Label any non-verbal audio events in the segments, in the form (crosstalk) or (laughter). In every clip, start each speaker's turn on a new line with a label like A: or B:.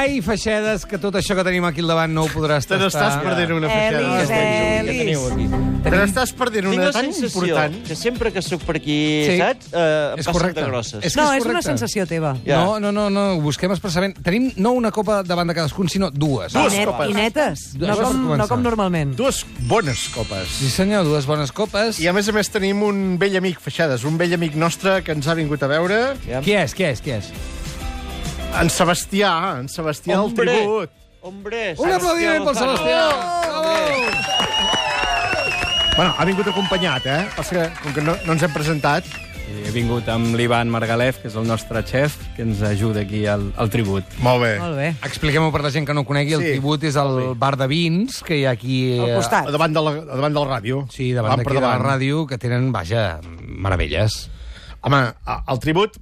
A: Eli Feixedes, que tot això que tenim aquí al davant no ho podràs
B: Te
A: tastar.
B: n'estàs perdent
C: Eh,
B: una
A: Ja
B: feixada.
A: està, ja
C: Elis.
A: teniu aquí.
B: Te n'estàs perdent
C: Eh, Tinc
B: una
C: la
B: tan
C: sensació
B: important.
C: que sempre que sóc per aquí,
A: Sí.
C: saps, eh, em
A: És
C: passen
A: correcte.
C: de grosses.
A: És que
D: No, és una
A: correcte.
D: sensació teva.
C: Ja.
A: No, no, no, no, ho busquem expressament. Tenim no una copa davant de cadascun, sinó dues.
B: Dues
D: I, net,
B: copes.
D: I netes, no
A: Això per
D: com, no
A: començar.
D: com normalment.
B: Dues bones copes.
A: Sí, senyor, dues bones copes.
B: I a més a més tenim un vell amic, Feixades, un vell amic nostre que ens ha vingut a veure,
A: Qui és, qui és, qui és?
B: en Sebastià, en Sebastià del
C: Hombre.
B: Tribut.
C: Hombre,
A: Un
C: Sebastià
A: aplaudiment pel
C: Lozano.
A: Sebastià!
B: Oh!
C: Hombre.
B: Bueno, ha vingut acompanyat, eh? Passa que, com que no, no ens hem presentat,
E: He vingut amb l'Ivan Margalef, que és el nostre xef, que ens ajuda aquí al, al tribut.
B: Molt bé.
D: Molt bé.
A: Expliquem-ho per la gent que no ho conegui. El
B: Sí.
A: tribut és el bar de vins que hi ha aquí...
D: Al
A: eh,
D: costat.
B: Davant de la, davant de la ràdio.
A: Sí, davant
B: Van per
A: d'aquí de la
B: davant.
A: ràdio, que tenen, vaja, meravelles.
B: Home, a- el tribut,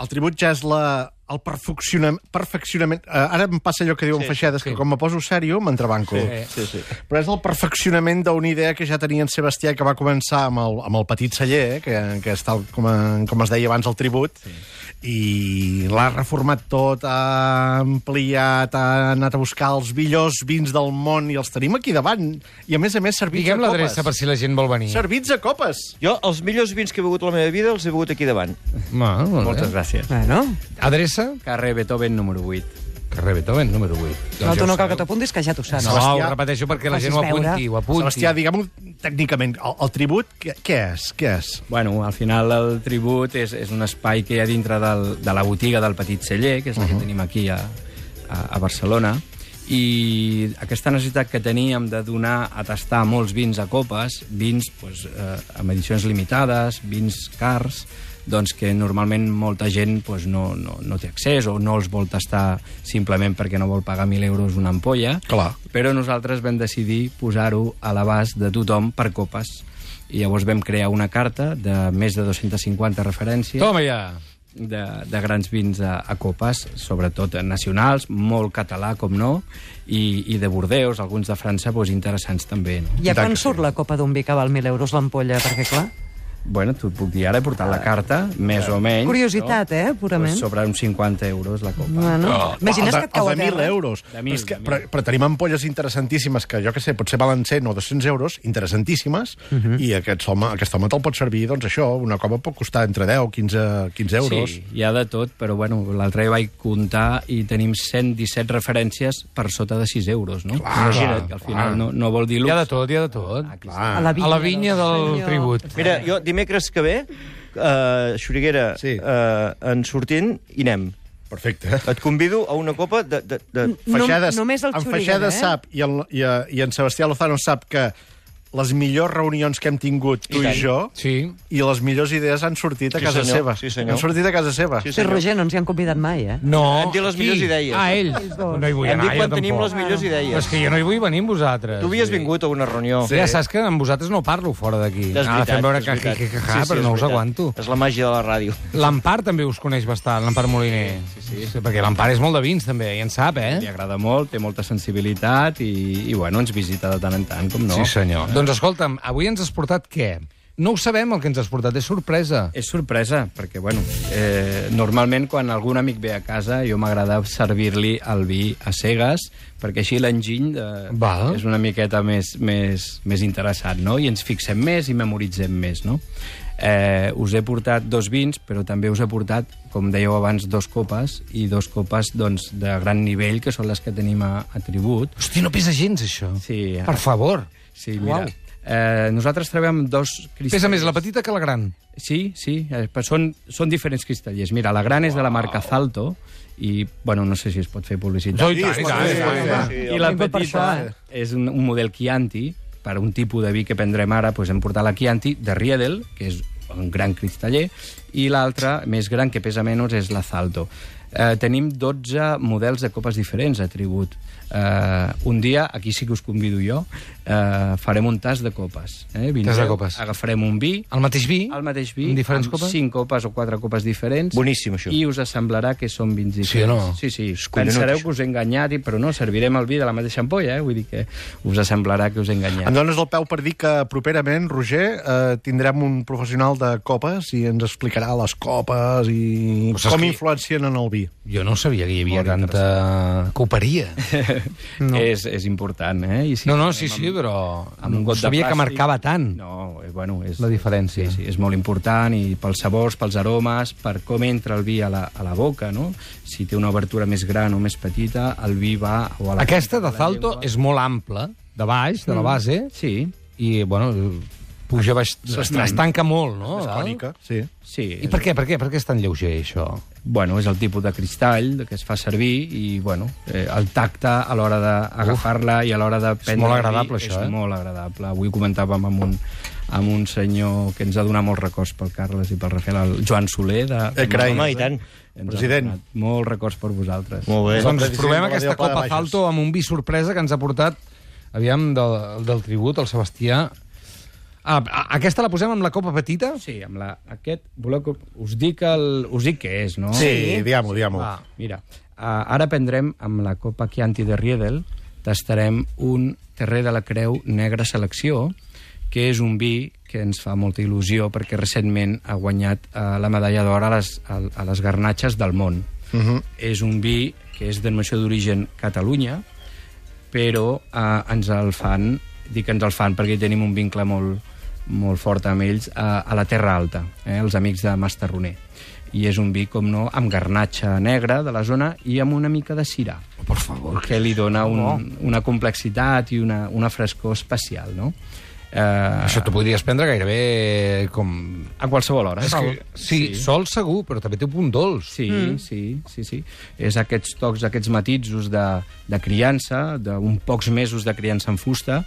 B: el tribut ja és la, el perfeccionament... perfeccionament eh, ara em passa allò que diuen sí, Feixedes, que com me poso sèrio, m'entrebanco.
C: Sí, sí.
B: Però és el perfeccionament d'una idea que ja tenia en Sebastià, que va començar amb el, amb el petit celler, eh, que, que és tal com, a, com es deia abans el tribut, sí. i l'ha reformat tot, ha ampliat, ha anat a buscar els millors vins del món, i els tenim aquí davant. I a més a més, servits
A: Diguem
B: a
A: l'adreça per
B: copes.
A: si la gent vol venir.
B: Servits a copes.
C: Jo, els millors vins que he begut a la meva vida els he begut aquí davant.
A: Ma, molt
E: Moltes
A: bé.
E: gràcies.
D: Bueno,
A: Doncs Adreça?
E: Carrer Beethoven número 8.
A: Carrer Beethoven, número Doncs 8.
D: no, tu no cal que t'apuntis, que ja t'ho saps.
A: No,
B: Sebastià-
A: ho repeteixo perquè la
D: Facis
A: gent ho
D: veure.
A: apunti, ho apunti.
B: Sebastià, diguem-ho tècnicament, el, el tribut, què, què és? Què és?
E: Bueno, al final el tribut és, és un espai que hi ha dintre del, de la botiga del Petit Celler, que és la que tenim aquí a, a, a Barcelona, i aquesta necessitat que teníem de donar a tastar molts vins a copes, vins pues, eh, amb edicions limitades, vins cars, doncs que normalment molta gent pues, no, no, no té accés o no els vol tastar simplement perquè no vol pagar 1.000 euros una ampolla.
B: Clar.
E: Però nosaltres vam decidir posar-ho a l'abast de tothom per copes. I llavors vam crear una carta de més de 250 referències
A: Toma ja!
E: de, de grans vins a, a copes, sobretot nacionals, molt català, com no, i, i de Bordeus, alguns de França, doncs, interessants també. No?
D: I a quan surt la copa d'un vi que val 1.000 euros l'ampolla? Perquè, clar,
E: Bueno, t'ho puc dir ara, he portat la carta, més o menys.
D: Ah, Curiositat, eh, purament.
E: Doncs sobre uns 50 euros la copa.
D: bueno. Imagines
B: el de-
D: que et cau a
B: el de 1.000
D: terra.
B: euros.
E: De mil,
B: però, és que,
E: de mil.
B: però, però tenim ampolles interessantíssimes que, jo que sé, potser valen 100 o 200 euros, interessantíssimes, i aquest home, aquest home te'l pot servir, doncs això, una copa pot costar entre 10 o 15, 15 euros.
E: Sí, hi ha de tot, però bueno, l'altre dia vaig comptar i tenim 117 referències per sota de 6 euros, no?
B: Clar,
E: Imagina't, que al
B: clar.
E: final no, no vol dir
A: Hi
E: lux.
A: ha de tot, hi ha de tot.
D: A la
A: Ah,
D: vinya,
A: A la vinya del
D: senyor.
A: tribut.
C: Mira, jo dimecres que ve, eh, Xuriguera,
B: Sí.
C: eh, en sortint, hi anem.
B: Perfecte.
C: Et convido a una copa de... de, de...
D: No-
B: Feixades,
D: només el
B: en
D: Xuriguera,
B: Feixades
D: eh?
B: sap i en, i, a- i en Sebastià Lozano sap que les millors reunions que hem tingut tu i,
C: tant.
B: jo
A: Sí.
B: i les millors idees han sortit a
C: Sí,
B: casa
C: senyor.
B: seva.
C: Sí, senyor.
B: Han sortit a casa seva.
C: Sí,
D: Sí, Roger, no ens hi han convidat mai, eh?
A: No.
C: Em diu les
A: Qui?
C: millors idees.
A: Ah, ell. No hi vull
C: Hem
A: anar,
C: dit
A: jo
C: quan tenim
A: tampoc.
C: les millors
A: Però és
C: idees.
A: que jo no hi vull venir amb vosaltres.
C: Tu havies
A: Vull dir,
C: vingut a una reunió.
A: Ja saps que amb vosaltres no parlo fora d'aquí.
C: És
A: Ara
C: veritat,
A: fem veure
C: és
A: que, que,
C: veritat.
A: que, que, que
C: Sí, sí,
A: però
C: és
A: no us
C: veritat.
A: aguanto.
C: És la màgia de la ràdio.
A: L'Empar també us coneix bastant, l'Empar Moliner. Sí, sí, sí. Perquè l'Empar és molt de vins, també, i en sap,
E: Li
A: eh?
E: agrada molt, té molta sensibilitat i, i bueno, ens visita de tant en tant, com no.
A: Sí, senyor. Doncs escolta'm, avui ens has portat què? No ho sabem, el que ens has portat. És sorpresa.
E: És sorpresa, perquè, bueno, eh, normalment quan algun amic ve a casa jo m'agrada servir-li el vi a cegues, perquè així l'enginy eh,
A: Val.
E: és una miqueta més, més, més interessant, no? I ens fixem més i memoritzem més, no? Eh, us he portat dos vins, però també us he portat, com dèieu abans, dos copes, i dos copes doncs, de gran nivell, que són les que tenim a, a tribut.
A: Hòstia, no pesa gens, això.
E: Sí,
A: Per favor.
E: sí mira. Eh, nosaltres treballem dos cristalls.
A: Pesa més la petita que la gran.
E: Sí, sí, eh, però són, són diferents cristallers. Mira, la gran és de la marca Zalto, i, bueno, no sé si es pot fer publicitat.
A: Jo, i tant, i tant, i tant.
E: I la
D: Vingut per
E: petita
D: això,
A: eh.
E: és un, un model Chianti, per un tipus de vi que prendrem ara, doncs hem portat la Chianti de Riedel, que és un gran cristaller, i l'altra, més gran, que pesa menys, és la Zalto. Eh, tenim 12 models de copes diferents a tribut. Eh, un dia, aquí sí que us convido jo, eh, farem un tas de copes. Eh?
A: Tas de
E: Vindreu,
A: copes.
E: Agafarem un vi,
A: El mateix vi?
E: el mateix vi,
A: Amb diferents
E: amb
A: copes?
E: cinc copes o quatre copes diferents.
C: Boníssim, això.
E: I us semblarà que són vins diferents.
A: o no?
E: Sí, sí.
C: collonut,
E: Pensareu
C: això.
E: que us he enganyat, i- però no, servirem el vi de la mateixa ampolla, eh? Vull dir que us semblarà que us he enganyat. (laughs)
B: Em dones el peu per dir que properament, Roger, eh, tindrem un professional de copes i ens explicarà explicarà les copes i
A: Però saps
B: com
A: que-
B: influencien en el vi.
A: Jo no sabia que hi havia
E: Molt
A: tanta
E: (laughs)
A: coperia.
E: No. És, és important, eh? I si
A: No, no,
E: anem
A: sí,
E: amb-
A: sí, però
E: amb un
A: no
E: got de
A: sabia que
E: plàstic.
A: marcava tant.
E: No, eh, bueno, és...
A: La diferència.
E: Sí, sí, és molt important i pels sabors, pels aromes, per com entra el vi a la, a la boca, no? Si té una obertura més gran o més petita, el vi va... O a la
A: Aquesta
E: punta
A: de Zalto
E: llengua. Mm.
A: és molt ampla, de baix, de la base,
E: Sí,
A: i, bueno, puja baix... Es tanca molt, no?
B: És cònica, sí.
E: sí.
A: I per què, per què, per què és tan lleuger, això?
E: Bueno, és el tipus de cristall que es fa servir i, bueno, eh, el tacte a l'hora d'agafar-la i a l'hora de prendre...
A: molt
E: el vi
A: agradable, això,
E: és
A: eh?
E: molt agradable. Avui comentàvem amb un, amb un senyor que ens ha donat molts records pel Carles i pel Rafael, el Joan Soler. De,
B: Eh, carai.
E: Home,
C: Home, i tant.
E: Ens
B: President.
E: ha donat molts records per vosaltres.
C: Molt bé.
A: Doncs
B: president
A: provem
B: de la
A: aquesta
B: Diabla de
A: Copa
B: Bages.
A: Zalto amb un vi sorpresa que ens ha portat, aviam, del, del tribut, el Sebastià. Ah, a- aquesta la posem amb la copa petita?
E: Sí, amb la, aquest... Voleu que us dic, el, us dic què és, no?
B: Sí, diguem-ho, diguem-ho.
A: Va.
E: Mira, uh, ara prendrem amb la Copa Chianti de Riedel, tastarem un Terrer de la Creu Negra Selecció, que és un vi que ens fa molta il·lusió perquè recentment ha guanyat uh, la medalla d'or a, les- al- a les garnatxes del món. Uh -huh. És un vi que és denominació d'origen Catalunya, però eh, ens el fan, dic que ens el fan perquè tenim un vincle molt, molt fort amb ells, eh, a la Terra Alta, eh, els amics de Mastarroner. I és un vi, com no, amb garnatxa negra de la zona i amb una mica de cirà. Per favor. Que li dona un,
A: Oh.
E: una complexitat i una, una frescor especial, no? Eh,
A: Això t'ho podries prendre gairebé com...
E: a qualsevol hora.
A: És que, sí, sí, sol segur, però també té un punt dolç.
E: Sí, mm. sí, sí, sí. És aquests tocs, aquests matisos de, de criança, d'un pocs mesos de criança en fusta,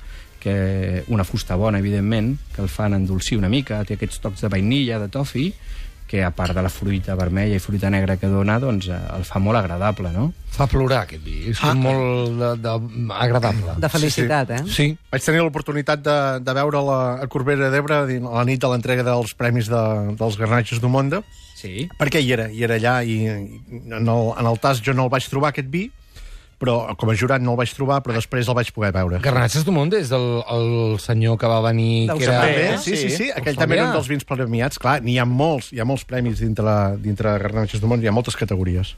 E: que una fusta bona, evidentment, que el fan endolcir una mica, té aquests tocs de vainilla, de tofi, que a part de la fruita vermella i fruita negra que dona, doncs eh, el fa molt agradable, no?
A: Fa plorar, aquest vi. És ah. molt de, de, agradable.
D: De felicitat, eh?
A: Sí.
B: Vaig tenir l'oportunitat de, de veure-la a Corbera d'Ebre a la nit de l'entrega dels Premis de, dels Garnatges d'Umonda,
E: Sí.
B: perquè hi era, hi era allà i, i en, el, en el tas jo no el vaig trobar, aquest vi, però com a jurat no el vaig trobar, però després el vaig poder veure.
A: Garnatxes Dumont és el, el senyor que va venir...
D: Del
A: Que era...
D: Safré.
B: També, sí, sí, sí, aquell
A: Doncs
B: també era
A: mira.
B: un dels vins premiats, clar, n'hi ha molts, hi ha molts premis dintre, dintre Garnatges d'Umonda, hi ha moltes categories.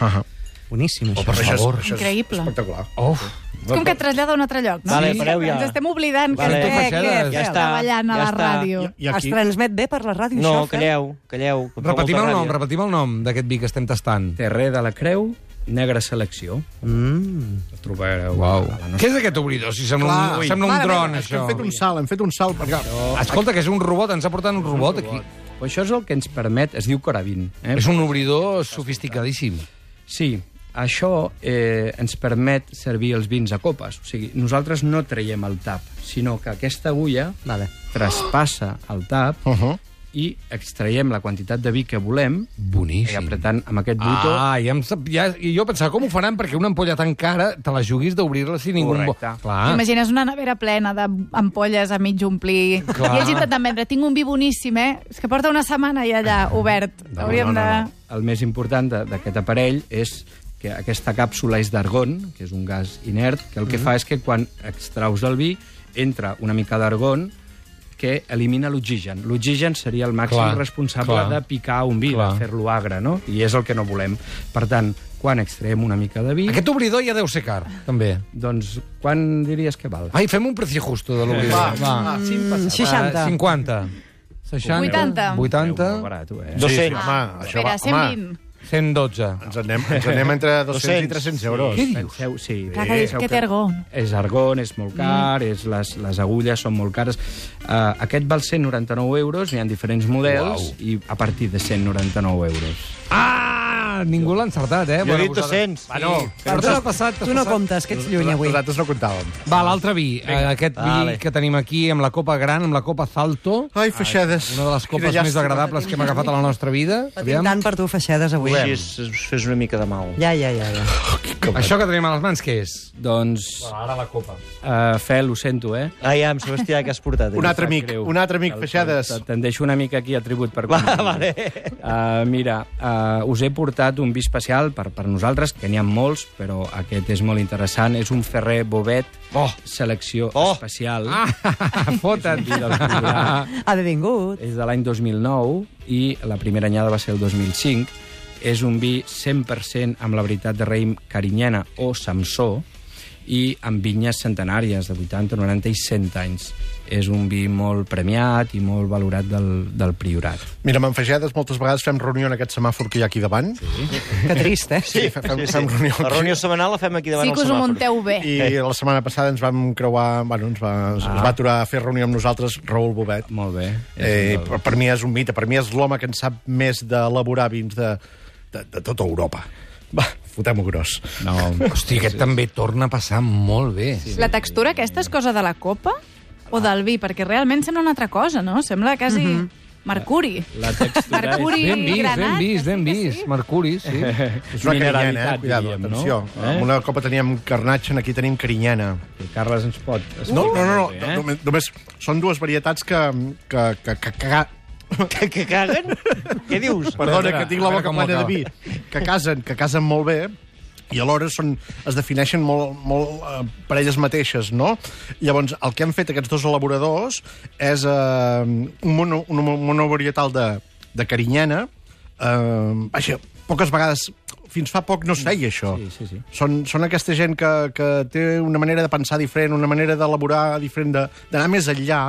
B: Ah,
D: Boníssim,
A: Oh,
D: això.
A: per favor.
B: això és
F: Increïble.
B: espectacular.
A: Uf.
F: És com que et trasllada a un altre lloc, no?
C: Vale, pareu ja.
F: Ens estem oblidant
C: Vale.
F: que,
A: Tot
F: que, que,
A: baixades.
C: Ja
F: esteu
C: està,
F: ballant a
C: ja
F: la
C: està.
F: ràdio.
B: I, i
D: Es
B: aquí,
D: transmet bé per la ràdio,
C: No,
D: això? Fel?
C: calleu, calleu. que fa
A: Repetim el
C: molta
A: nom,
C: ràbia.
A: repetim el nom d'aquest vi que estem tastant.
E: Terrer de la Creu, negra selecció.
D: Mm.
E: El trobareu
A: Uau.
E: a la nostra...
A: Què és aquest obridor? Si sembla
B: Clar,
A: un, sembla un
B: clarament,
A: dron,
B: és que
A: això.
B: Hem fet un salt, hem fet un salt. Perquè...
A: Escolta, que és un robot, ens ha portat un robot aquí.
E: Però això és el que ens permet, es diu Coravin. Eh?
A: És un obridor sofisticadíssim.
E: Sí, això eh, ens permet servir els vins a copes. O sigui, nosaltres no traiem el tap, sinó que aquesta agulla
D: Vale.
E: traspassa el tap
B: Uh -huh.
E: i extraiem la quantitat de vi que volem i
A: Uh-huh. Boníssim.
E: apretant amb aquest botó...
A: Ah, ja em sap, ja, i jo pensava, com ho faran? Perquè una ampolla tan cara te la juguis d'obrir-la si ningú... en vol.
E: Correcte.
A: Clar.
F: Imagines una nevera plena d'ampolles a mig omplir.
A: Clar.
F: I els intentant vendre. Tinc un vi boníssim, eh? És que porta una setmana i allà, obert. No, Hauríem no, no, de...
E: El més important de- d'aquest aparell és que aquesta càpsula és d'argon, que és un gas inert, que el que fa és que quan extraus el vi entra una mica d'argon que elimina l'oxigen. L'oxigen seria el màxim
A: Clar,
E: clar, responsable
A: clar.
E: clar, de picar un vi,
A: Clar.
E: de fer-lo agre, no? I és el que no volem. Per tant, quan extraem una mica de vi, Aquest...
A: Aquest obridor ja deu ser car, també.
E: doncs quan diries que val?
A: Ai, fem un precio justo de l'obridor. Va, Eh,
D: Mm,
A: Ah,
D: 60.
A: 50. 60.
F: 80.
A: 80.
E: Molt barat,
B: Sí,
E: eh?
B: sí,
C: 200.
B: home, això va,
F: Ah, Espera,
B: home,
F: 120.
A: 112.
B: ens en anem, ens en anem entre 200 i 300 euros.
A: Què dius?
E: Penseu, sí,
F: Clar que dius
E: penseu
F: que té argon.
E: És argon, és molt car,
A: Mm.
E: és les, les agulles són molt cares. Uh, aquest val 199 euros, hi ha diferents models,
A: Uau.
E: i a partir de 199 euros.
A: Ah! Ningú l'ha encertat, eh?
C: Jo he dit
A: vosaltres-
C: 200.
A: Va, no.
C: Sí.
A: Però t'has passat, t'has
D: Tu no
A: passat.
D: comptes, que ets lluny avui.
B: Nosaltres no comptàvem.
A: Va, l'altre vi. eh, Aquest vi
C: Vale.
A: que tenim aquí amb la copa gran, amb la copa Zalto.
B: Ai, feixades.
A: Una de les copes més agradables que hem agafat a la nostra vida.
D: Patim tant per tu, Feixedes, avui.
C: Així es, es fes una mica de mal.
D: Ja, ja, ja. ja.
A: Això que tenim a les mans, què és?
E: Doncs,
A: Ara la copa.
E: uh, Fel, ho sento, eh?
C: Ai, am, Ah, Sebastià, que has portat? eh?
B: Un altre amic,
E: greu.
B: un altre amic, feixades.
E: Te'n deixo una mica aquí a tribut per... Va, vale. Uh, mira, uh, Eh, us he portat preparat un vi especial per, per nosaltres, que n'hi ha molts, però aquest és molt interessant. És un Ferrer Bovet,
A: Oh.
E: selecció
C: Oh.
E: especial. (laughs)
A: Ah, fota't.
E: És un vi del Priorat.
D: Ha devingut.
E: És de l'any 2009 i la primera anyada va ser el 2005. És un vi 100% amb la veritat de raïm carinyena o samsó i amb vinyes centenàries de 80, 90 i 100 anys. És un vi molt premiat i molt valorat del, del priorat.
B: Mira, Manfagades moltes vegades fem reunió en aquest semàfor que hi ha aquí davant. Sí,
D: Que trist, eh?
B: sí, fem, fem, fem reunió
C: La
B: aquí.
C: reunió setmanal la fem aquí davant
F: Sí que
C: el
F: us ho
C: semàfor.
F: munteu bé.
B: I la setmana passada ens vam creuar... Bueno, ens va, ah. es va aturar a fer reunió amb nosaltres Raül Bobet.
E: Molt bé.
B: Eh, per, per mi és un mite, per mi és l'home que en sap més d'elaborar vins de, de, de tota Europa. Va, fotem-ho gros. (laughs)
E: No,
A: Hosti, aquest també torna a passar molt bé. Sí.
F: La textura aquesta és cosa de la copa o del vi? Perquè realment sembla una altra cosa, no? Sembla quasi mercuri.
E: la textura
F: Mercuri
A: Ben vist,
F: granat.
A: ben vist,
F: que sí
A: ben
F: que
A: vist. Mercuri, sí.
E: és
B: És una carinyana, eh?
E: mineralitat,
B: Cuidado,
E: diríem,
B: atenció. Ah,
E: No? Eh?
B: Amb una copa teníem carnatge, aquí tenim carinyana.
E: El Carles ens pot... es
B: No,
E: pot
B: no, no, no,
E: molt bé,
B: no
E: eh?
B: només, només són dues varietats que... que, que, que, que
C: Que, que caguen? Què dius?
B: Perdona, que tinc la
A: a veure
B: boca
A: com
B: plena de
A: acaba.
B: vi. Que casen, que casen molt bé, i alhora són, es defineixen molt, molt eh, per elles mateixes, no? Llavors, el que han fet aquests dos elaboradors és eh, un mono, una mo- monovarietal de, de carinyana. Eh, vaja, poques vegades, fins fa poc no es feia això.
E: Sí, sí, sí.
B: Són, són aquesta gent que, que té una manera de pensar diferent, una manera d'elaborar diferent, de- d'anar més enllà.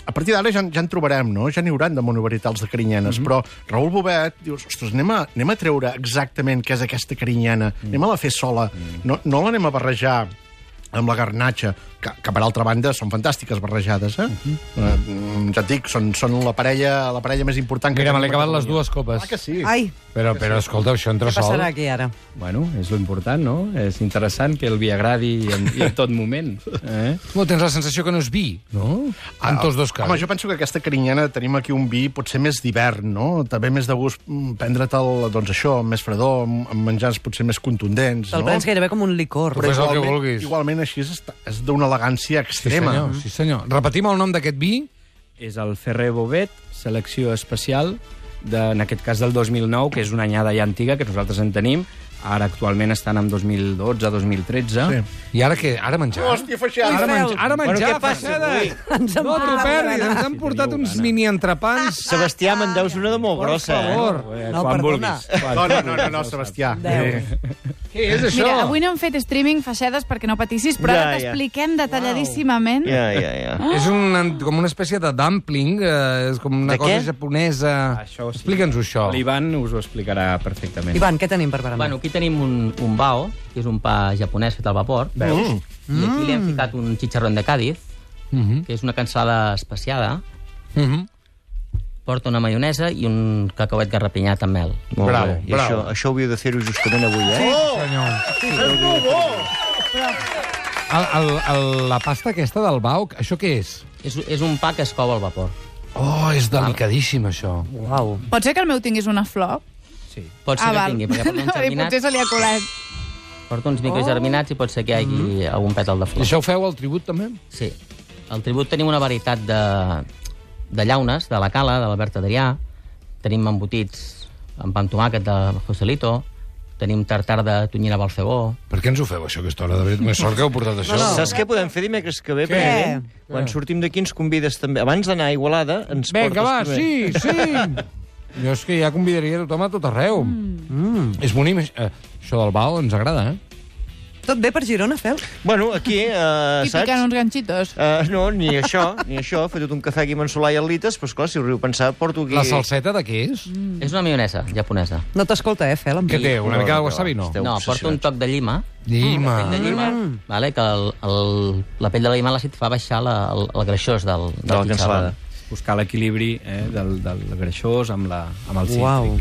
B: A partir d'ara ja, en- ja en trobarem, no? Ja n'hi hauran de monoveritals de carinyanes,
A: Mhm.
B: mm -hmm. però Raül Bobet, dius, ostres, anem a, anem a treure exactament què és aquesta carinyana,
A: Mhm.
B: mm. anem a la fer sola, mm. no, no l'anem a barrejar amb la garnatxa, que, que per altra banda són fantàstiques barrejades, eh?
A: Mhm.
B: Mm -hmm. Ja et dic, són, són la parella la parella més important que
A: Mira, me
B: tenim
A: l'he
B: a
A: acabat les
B: Catalunya.
A: dues copes.
B: Clar Ah, que sí.
D: Ai,
A: Però, però, escolta, això
D: què
A: entra sol.
D: passarà aquí ara?
E: Bueno, és lo important, no? És interessant que el vi agradi en, i en tot moment. Eh?
A: No, tens la sensació que no és vi, no? Ah, en tots dos casos.
B: Home, jo penso que aquesta carinyana tenim aquí un vi potser més d'hivern, no? També més de gust mm, prendre-te'l, doncs això, amb més fredor, amb- amb menjars potser més contundents,
D: Te'l
B: no?
D: prens gairebé com un licor.
A: Però- Fes el que
B: igualment-
A: vulguis.
B: Igualment així és, és d'una elegància
A: Sí,
B: extrema.
A: senyor, sí, senyor. Repetim el nom d'aquest vi.
E: És el Ferrer Bovet, selecció especial, de, en aquest cas del 2009, que és una anyada ja antiga, que nosaltres en tenim. Ara actualment estan en 2012, 2013.
B: Sí.
A: I ara què? Ara menjar?
B: Hòstia, feixada!
A: Ara, menjar, ara menjar,
C: Bueno, què passa,
A: Feixada?
C: avui?
D: Ens en
A: No t'ho
D: parla.
A: perdis, ens han portat uns mini entrepans.
C: Sebastià, me'n deus una de molt
A: Per
C: grossa, eh?
A: favor.
E: Eh,
D: No,
E: quan
D: perdona.
E: vulguis. Quan
B: Ah, No, no, no, no,
E: vulguis,
B: no, Sebastià.
D: Déu.
A: Què és això?
F: Mira, avui no hem fet streaming, Faixedes, perquè no patissis, però
C: Ja,
F: ara
C: ja.
F: t'expliquem detalladíssimament.
C: Ja, ja, ja.
A: (gasps) És un, com una espècie de dumpling, eh, és com una
C: De
A: cosa
C: què?
A: japonesa.
E: Això sí.
A: Explica'ns-ho, això.
E: L'Ivan us ho explicarà perfectament.
D: Ivan, què tenim per berenar?
G: Bueno, aquí tenim un, un bao, que és un pa japonès fet al vapor. Veus?
A: Mm.
G: I aquí li hem
F: Mm.
G: ficat un xicharrón de Cádiz,
A: Mhm,
G: que és una cansada especiada.
A: mhm.
G: Porta una maionesa i un cacauet garrapinyat amb mel.
C: Molt
A: Bravo,
C: bé. I
A: bravo.
C: Això, això hauríeu de fer-ho justament avui, eh?
A: Senyor. El, el, el, la pasta aquesta del bauc, això què és?
G: És, és un pa que es cou al vapor.
A: Oh, és delicadíssim, això.
G: Uau.
F: Pot ser que el meu tinguis una flor?
G: Pot ser que
F: Ah, val.
G: tingui,
F: (laughs)
G: perquè porta
F: No, dic,
G: uns
F: potser Oh.
G: germinats,
F: se li ha colat.
G: porta uns microgerminats i pot ser que hi hagi algun pètal de
A: Mm. I
G: flor.
A: això ho feu al tribut, també?
G: Sí. Al tribut tenim una varietat de, de llaunes, de la Cala, de l'Albert Adrià. Tenim embotits amb pa amb tomàquet de Joselito. Tenim tartar de tonyina balcebó.
A: Per què ens ho feu, això, a aquesta hora? De veritat, més sort que heu portat això.
C: No. Saps què podem fer dimecres que ve, president? Quan sortim d'aquí ens convides també. Abans d'anar a Igualada ens
A: Vinga, va,
C: portes... eh? també.
A: sí, sí! (laughs) Jo és que ja convidaria tothom a tot arreu. Mm. És bonic. Eh, això del bau ens agrada, eh?
D: Tot bé per Girona, Fel?
C: Bueno, aquí, eh,
F: I picant
C: saps?
F: uns ganxitos.
C: Uh, no, ni això, ni això. He fet un cafè aquí amb en Solà i en Lites, però esclar, si ho riu pensar, porto aquí...
A: La salseta de què és?
G: Mm. És una maionesa japonesa.
D: No t'escolta, eh, Fel?
A: Què té? Una mica de
C: no,
A: wasabi, no?
C: esteu-
G: No, porta un toc de llima,
A: Llima.
G: de llima, vale, que el, el, la pell de la llima l'àcid fa baixar la, el, el greixós del, del
C: De la
G: pizza.
C: cansalada.
E: Buscar l'equilibri eh, del, del greixós amb, la, amb el cítric.
D: Uau.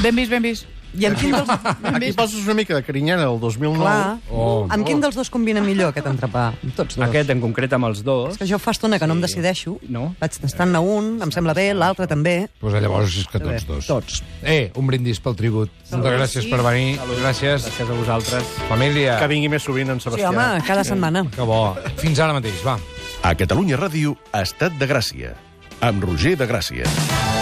F: Ben vist, ben vist.
D: I amb quin dels...
A: (laughs)
B: Aquí poses una mica de carinyana del 2009.
D: Clar.
A: Oh.
D: Amb quin dels dos combina millor aquest entrepà? Amb tots dos.
E: Aquest, en concret, amb els dos.
D: És que jo fa estona que no em decideixo.
E: No?
D: Vaig tastant-ne un, em sembla bé, l'altre també.
A: Doncs pues llavors és que tots dos. Tots. Eh, un brindis pel tribut. Moltes gràcies per venir. Gràcies.
E: Gràcies a vosaltres.
A: Família.
B: Que vingui més sovint en
D: Sí,
B: Sebastià.
D: home, cada setmana.
A: Que bo. Fins ara mateix, va.
H: A Catalunya Ràdio, Estat de Gràcia, amb Roger de Gràcia.